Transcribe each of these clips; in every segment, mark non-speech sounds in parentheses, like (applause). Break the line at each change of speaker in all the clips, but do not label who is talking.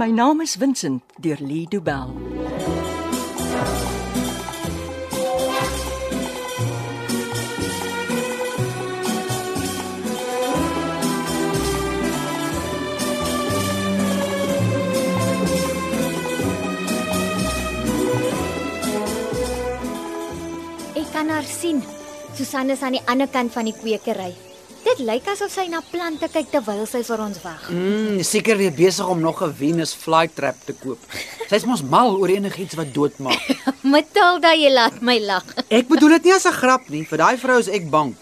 My naam is Vincent deur Lee Du Bell.
Ek kan haar sien. Susan is aan die ander kant van die kwekery. Dit lyk asof sy na plante kyk terwyl sy vir ons wag.
Mm, seker weer besig om nog 'n Venus flytrap te koop. Sy's mos mal oor enigiets wat doodmaak.
(laughs) Matilda, jy laat my lag.
Ek bedoel dit nie as 'n grap nie. Vir daai vrou is ek bang.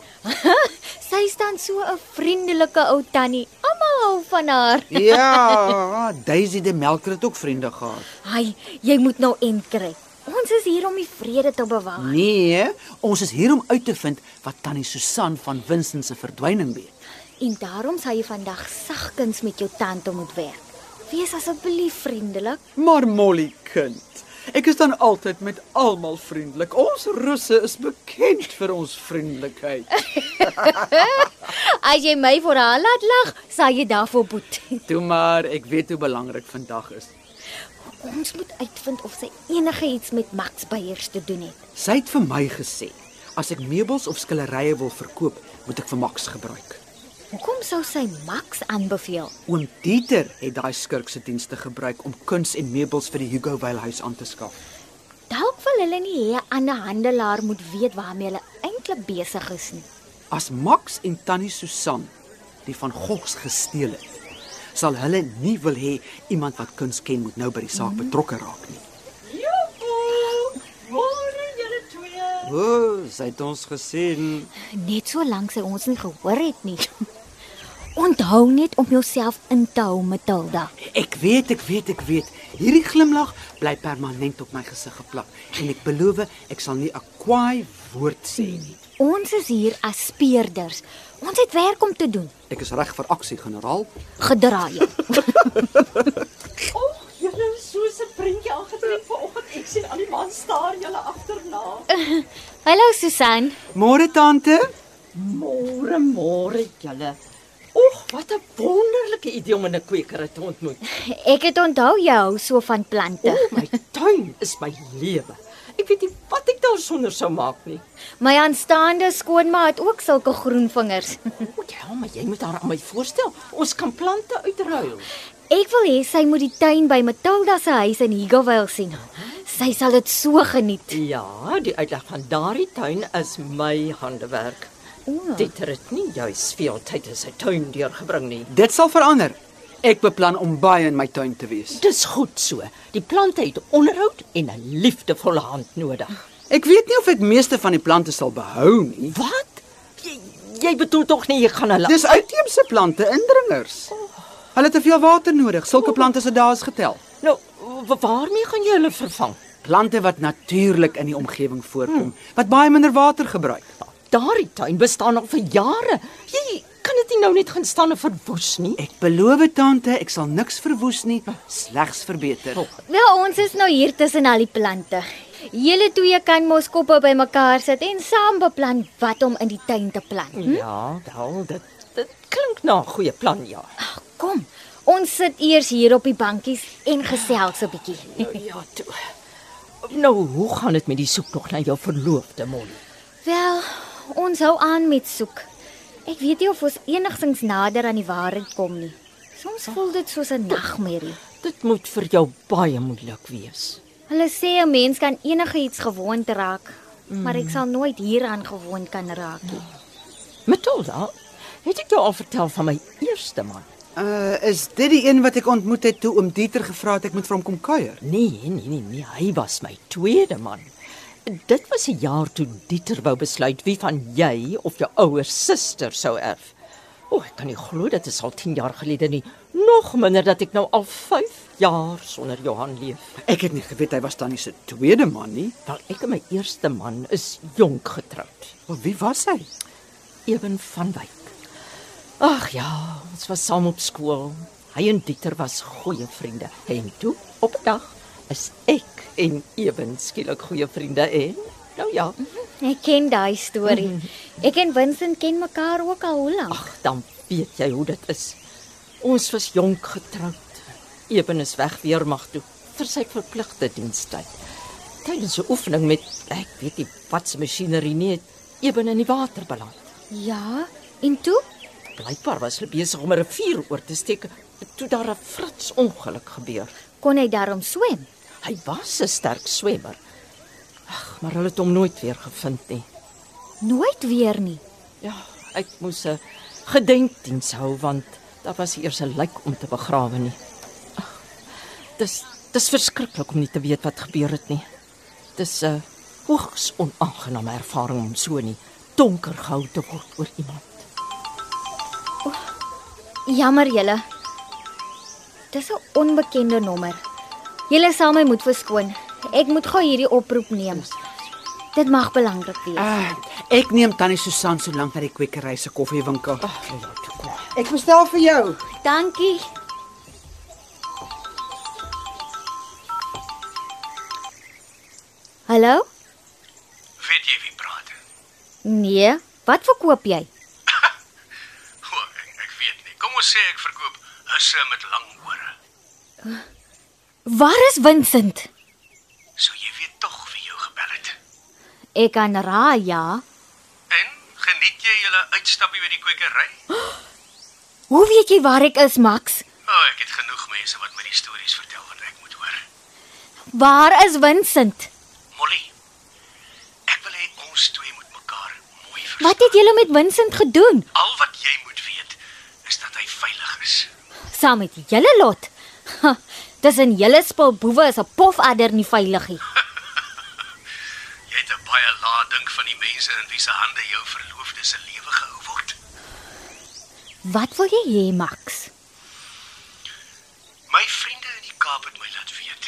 Sy staan so 'n vriendelike ou tannie. Almal hou van haar.
Ja, Daisy de Melker het ook vriende gehad.
Hai, jy moet nou end kry. Ons is hier om die vrede te bewaar.
Nee, ons is hier om uit te vind wat tannie Susan van Vincent se verdwyning weet.
En daarom sal jy vandag sagkens met jou tante moet werk. Wees asseblief vriendelik.
Maar Molly kind, ek is dan altyd met almal vriendelik. Ons Russe is bekend vir ons vriendelikheid.
As jy my vir haar laat lag, sal jy daarvoor boet.
Toe maar, ek weet hoe belangrik vandag is.
(laughs) Ons moet uitvind of sy enige iets met Max Beyers te doen het.
Sy het vir my gesê, as ek meubels of skillerye wil verkoop, moet ek vir Max gebruik.
Hoekom sou sy Max aanbeveel?
Oom Dieter het daai skurk se dienste gebruik om kuns en meubels vir die Hugo Weil huis aan te skaf.
Dalk wil hulle nie hê 'n ander handelaar moet weet waarmee hulle eintlik besig is nie.
As Max en Tannie Susan die van Gogs gesteel het, sal hulle nie wil hê iemand wat kuns ken moet nou by die saak betrokke raak nie. O, oh, sy het ons gesien.
Net solank sy ons nie gehoor het nie. (laughs) Onthou net om jouself in te hou, Matilda.
Ek weet, ek weet, ek weet. Hierdie glimlag bly permanent op my gesig geplak en ek beloof ek sal nie 'n kwaai woord sê nie.
Ons is hier as speerders. Ons het werk om te doen.
Ek is reg vir aksie, generaal.
Gedraai.
Julle is so 'n prentjie aangetrek vanoggend. Ek sien al die man staar julle agterna.
(laughs) Hallo Susan.
Môre tante.
Môre, môre julle. Och, wat 'n wonderlike idee om in 'n kwekery te ontmoet. (laughs)
Ek het onthou jy hou so van plante.
O, my tuin is my lewe. Ek weet nie wat ek daarsonder sou maak nie.
My aanstaande skoonma het ook sulke groen vingers.
O, ja, maar jy moet haar aan my voorstel. Ons kan plante uitruil.
Ek wil hê sy moet die tuin by Matilda se huis in Higgovale sien. Sy sal dit so geniet.
Ja, die uitleg van daardie tuin is my handewerk.
O.
Dit het nie juis veel tyd in sy tuin deurgebring nie.
Dit sal verander. Ek beplan om baie in my tuin te wees.
Dis goed so. Die plante het onderhoud en 'n liefdevolle hand nodig.
Ek weet nie of ek meeste van die plante sal behou nie.
Wat? Jy, jy bedoel tog nie jy gaan hulle
Dis uitheemse plante, indringers. Hulle het te veel water nodig. Sulke plante se dae is getel.
nou wa- waarmee gaan jy hulle vervang?
Plante wat natuurlik in die omgewing voorkom, wat baie minder water gebruik.
Daardie tuin bestaan al vir jare. Jy kan dit nie nou net gaan staan en verwoes nie.
Ek beloof tante, ek sal niks verwoes nie, slegs verbeter.
Wel, ons is nou hier tussen al die plante. Julle twee kan mos koppe bymekaar sit en saam beplan wat om in die tuin te plant.
Ja, wel, dit dit klink na 'n goeie plan, ja.
Kom, ons sit eers hier op die bankies en gesels 'n bietjie.
Ja, toe. Nou, hoe gaan dit met die soektog na jou verloofde, Molly?
Wel, ons hou aan met soek. Ek weet nie of ons enigstens nader aan die waarheid kom nie. Soms voel dit soos 'n nagmerrie.
Dit moet vir jou baie moeilik wees.
Hulle sê 'n mens kan enigiets gewoond raak, maar ek sal nooit hieraan gewoond kan raak nie.
Matilda, het ek jou al vertel van my eerste man?
Uh, is dit die een wat ek ontmoet het toe oom Dieter gevra het ek moet vir hom kom kuier?
Nee, nee, nee, nee, hy was my tweede man. Dit was 'n jaar toe Dieter wou besluit wie van jy of jou ouer suster sou erf. O, ek kan nie glo dit is al 10 jaar gelede nie. Nog minder dat ek nou al 5 jaar sonder Johan leef.
Ek het nie geweet hy was tannie se tweede man nie.
Wel, ek en my eerste man is jonk getroud.
Maar wie was hy?
Eben van Wyk. Ag ja, ons was saam op skool. Hy en Dieter was goeie vriende. En toe, op 'n dag, is ek en Eben skielik goeie vriende en nou ja,
Ek ken daai storie. Ek en Vincent ken mekaar ook al hoe lank.
ag dan weet jy hoe dit is. Ons was jonk getroud. Ebenes weg weermag toe vir sy verpligte dienstyd. Tydens 'n oefening met ek weet nie wat se masjinerie nie, het Eben in die water beland.
Ja, en toe?
Blykbaar was hulle besig om 'n rivier oor te steek toe daar 'n frits ongeluk gebeur.
Kon hy daarom swem?
Hy was 'n sterk swemmer. Ag, maar hulle het hom nooit weer gevind nie.
Nooit weer nie.
Ja, ek moes 'n gedenkdiens hou want daar was eers 'n lijk om te begrawe nie. Ag, Dis dis verskriklik om nie te weet wat gebeur het nie. Dis 'n hoogs onaangename ervaring om so nie donker gehou te word oor iemand.
Jammer julle. Dis 'n onbekende nommer. Julle sal my moet verskoon. Ek moet gou hierdie oproep neem. Dit mag belangrik wees.
Ah, ek neem tannie Susan so lank na die kwekery se koffiewinkel.
Ek bestel vir jou.
Dankie. Hallo?
Weet jy wie praat?
Nee, wat verkoop jy?
O, ek, ek weet nie. Kom ons sê ek verkoop husse met lang ore.
Waar is Vincent?
So jy weet tog wie jou gebel het.
Ek kan raai, ja.
En geniet jy julle uitstappie by die kwekery? O,
Hoe weet jy waar ek is, Max?
oh, ek het genoeg mense wat my die stories vertel wat ek moet hoor.
Waar is Vincent?
Molly. Ek wil hê ons twee moet mekaar mooi verstaan.
Wat het julle met Vincent gedoen?
Al wat jy moet weet is dat hy veilig is.
Saam met julle lot. Ha, Dis in julle spul boewe is 'n pofadder nie veiligie.
Jy het 'n baie lae dink van die mense in wie se hande jou verloofde se lewe gehou word.
Wat wil jy hê, Max?
My vriende in die Kaap het my laat weet.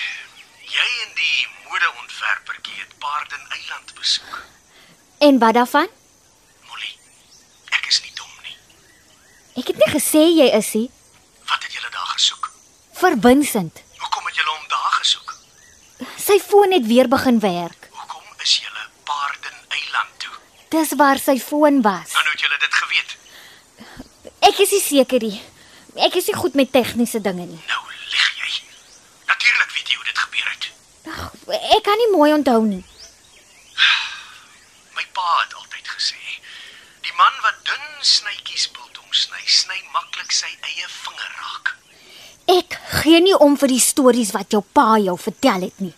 Jy en die modeontwerpertjie het Paardeneiland besoek.
En wat daarvan?
Molly, ek is nie dom nie.
Ek het nie gesê jy is hy
Wat het julle daar gesoek?
vir Vincent.
Hoekom het julle hom daar gesoek?
Sy foon het weer begin werk.
Hoekom is julle Paardeneiland toe?
Dis waar sy foon was.
Dan het julle dit geweet.
Ek is nie seker nie. Ek is nie goed met tegniese dinge nie.
Nou lieg jy. Natuurlik weet jy hoe dit gebeur het.
Ag, ek kan nie mooi onthou nie.
My pa het altyd gesê, die man wat dun snytjies biltong sny, sny maklik sy eie vinger raak.
Ek gee nie om vir die stories wat jou pa jou vertel het nie.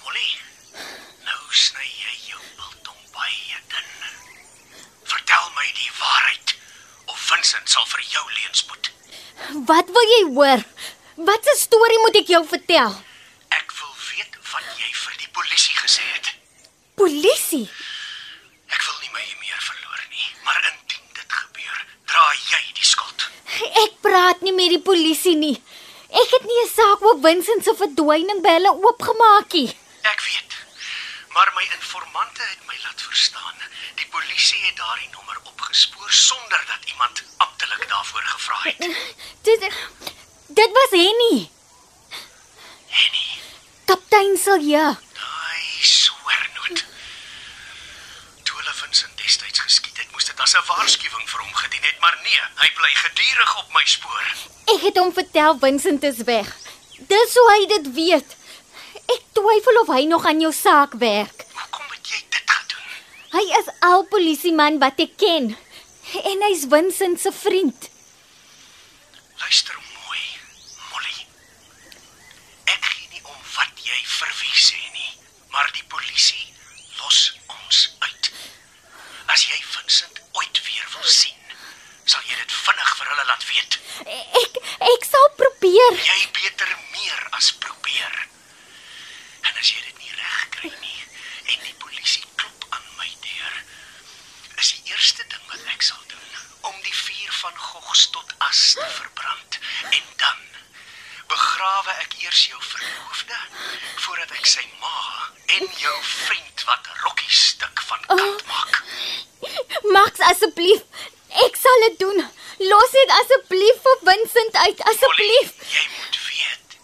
Molly, nou sny jy jou biltong baie dun. Vertel my die waarheid of Vincent sal vir jou leenspoed.
Wat wil jy hoor? Wat 'n storie moet ek jou vertel?
Ek wil weet wat jy vir die polisie gesê het.
Polisie.
Ek wil nie my eer meer verloor nie, maar indien dit gebeur, dra jy die skuld.
Ek praat nie met die polisie nie. Ek het nie 'n saak oor Vincent se verdwyning by hulle oopgemaak nie.
Ek weet. Maar my informante het my laat verstaan, die polisie het daardie nommer opgespoor sonder dat iemand amptelik daarvoor gevra het.
Dit dit was Henny,
Henny,
kaptein Silje.
Daai swernoot. Toe hulle Vincent destyds geskiet het, moes dit as 'n waarskuwing vir hom gedien het, maar nee, hy bly gedurig op my spoor.
Ek het hom vertel Vincent is weg. Dis hoe hy dit weet. Ek twyfel of hy nog aan jou saak werk.
Hoekom het jy dit gedoen?
Hy is al polisieman wat ek ken en hy's Vincent se vriend.
Luister mooi, Molly. Ek gee nie om wat jy vir wie sê nie, maar die polisie los ons uit. As jy Vincent ooit weer wil sien, sal jy dit vinnig vir hulle laat weet.
Ek ek sal probeer.
Jy beter meer as probeer. En as jy dit nie reg kry nie en die polisie klop aan my deur, is die eerste ding wat ek sal doen om die vuur van Gogs tot as te verbrand en dan begrawe ek eers jou verloofde voordat ek sy ma en jou vriend wat rokkie stuk van kant maak.
Max asseblief. Ek sal dit doen. Los dit asseblief vir Vincent uit asseblief.
Molly, Jy moet weet,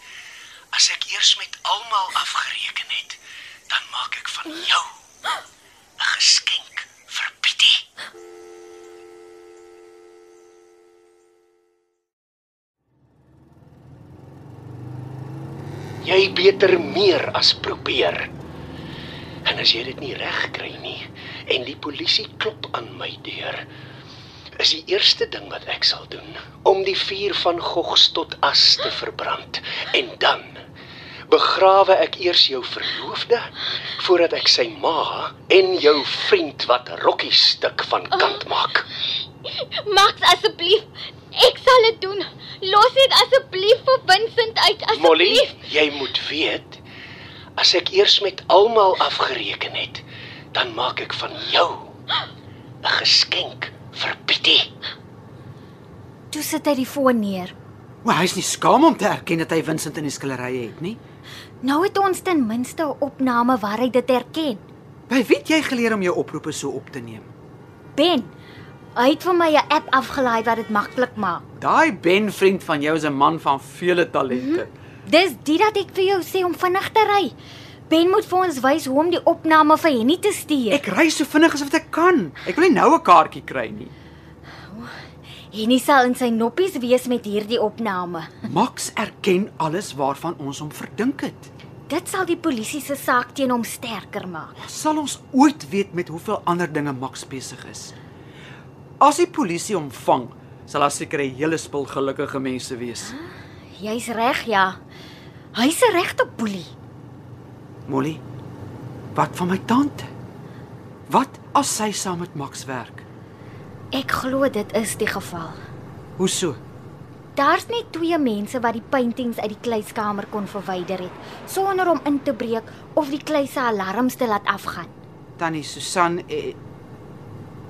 as ek eers met almal afgereken het, dan maak ek van jou 'n geskenk vir Pietie. jy beter meer as probeer. En as jy dit nie reg kry nie en die polisie klop aan my deur, is die eerste ding wat ek sal doen om die vuur van Gogs tot as te verbrand en dan begrawe ek eers jou verloofde voordat ek sy ma en jou vriend wat rokkie stuk van kant maak.
Max asseblief, ek sal dit doen. Los dit asseblief vir Vincent uit
Molly,
asseblief.
jy moet weet, as ek eers met almal afgereken het, dan maak ek van jou 'n geskenk vir Pietie.
Toe sit hy die foon neer.
Maar hy's nie skaam om te erken dat hy Vincent in die skillery het nie.
Nou het ons ten minste 'n opname waar hy dit erken.
By wie het jy geleer om jou oproepe so op te neem?
Ben, hy het vir my 'n app afgelaai wat dit maklik maak.
Daai Ben vriend van jou is 'n man van vele talente.
Mhm.
Dis dit dat ek vir jou sê om vinnig te ry. Ben moet vir ons wys hoe om die opname vir Henny te
Ja.
stuur.
Ek ry so vinnig as wat ek kan. Ek wil nie nou 'n kaartjie kry nie.
Henny sal in sy noppies wees met hierdie opname.
Max erken alles waarvan ons hom verdink het.
Dit sal die polisie se saak teen hom sterker maak.
Sal ons ooit weet met hoeveel ander dinge Max besig is? As die polisie hom vang, sal daar seker 'n hele spul gelukkige mense wees.
Jy's reg, ja. Hy's 'n regte boelie.
Molly, wat van my tante? Wat as sy saam met Max werk?
Ek glo dit is die geval.
Hoe so?
Daar's net twee mense wat die paintings uit die kluiskamer kon verwyder het sonder om in te breek of die kluis se alarms te laat afgaan.
Tannie Susan en,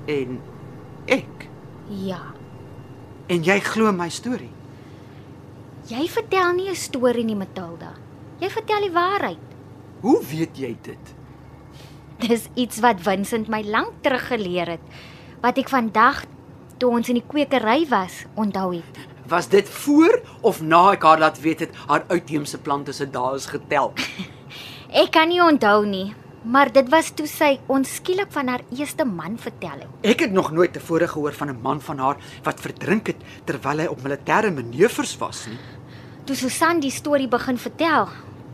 en ek
Ja.
en jy glo my storie.
Jy vertel nie 'n storie nie, Matilda. Jy vertel die waarheid.
Hoe weet jy dit?
Dis iets wat Vincent my lank terug geleer het wat ek vandag toe ons in die kwekery was, onthou het.
Was dit voor of na ek haar laat weet het haar uitheemse plante se dae is getel?
Ek kan nie onthou nie, maar dit was toe sy ons skielik van haar eerste man vertel het.
Ek het nog nooit tevore gehoor van 'n man van haar wat verdrink het terwyl hy op militêre manoeuvres was nie. (laughs)
Toe Susan die storie begin vertel,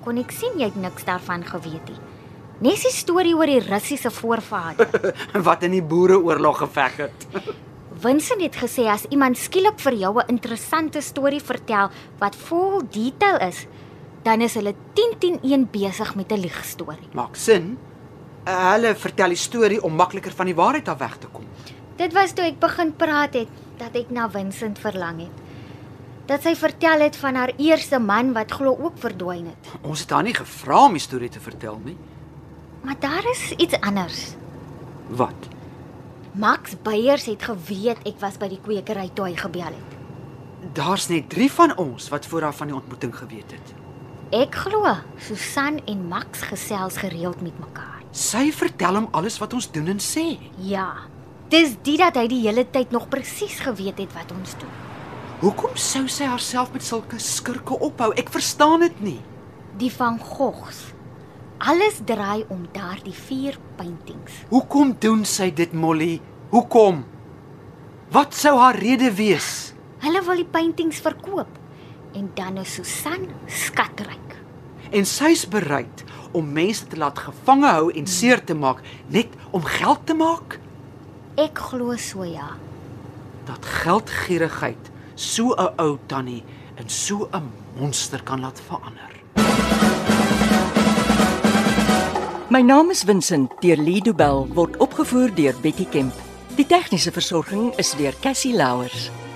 kon ek sien jy het niks daarvan geweet nie. Nes die storie oor die Russiese
(laughs)
voorvader.
Wat in die boereoorlog geveg het.
Vincent het gesê as iemand skielik vir jou 'n interessante storie vertel wat vol detail is, dan is hulle 10-10-1 besig met 'n liegstorie.
Maak sin. Eh, Hulle vertel die storie om makliker van die waarheid af weg te kom.
Dit was toe ek begin praat het dat ek na Vincent verlang het. Dat sy vertel het van haar eerste man wat glo ook verdwyn het.
Ons het haar nie gevra om die storie te vertel nie.
Maar daar is iets anders.
Wat?
Max Beyers het geweet ek was by die kwekery toe hy gebel het.
Daar's net 3 van ons wat vooraf van die ontmoeting geweet het.
Ek glo Susan en Max gesels gereeld met mekaar.
Sy vertel hom alles wat ons doen en sê.
Ja. Dis dit dat hy die hele tyd nog presies geweet het wat ons doen.
Hoekom sou sy haarself met sulke skurke ophou? Ek verstaan dit nie.
Die van Gogs. Alles draai om daardie vier paintings.
Hoekom doen sy dit, Molly? Hoekom? Wat sou haar rede wees?
Hulle wil die paintings verkoop en dan is Susan skatryk.
En sy's bereid om mense te laat gevange hou en seer te maak net om geld te maak?
Ek glo so ja.
Dat geldgierigheid so 'n ou tannie in so 'n monster kan laat verander.
My naam is Vincent deur Lido Bell word opgevoer deur Betty Kemp. Die tegniese versorging is deur Cassie Louers.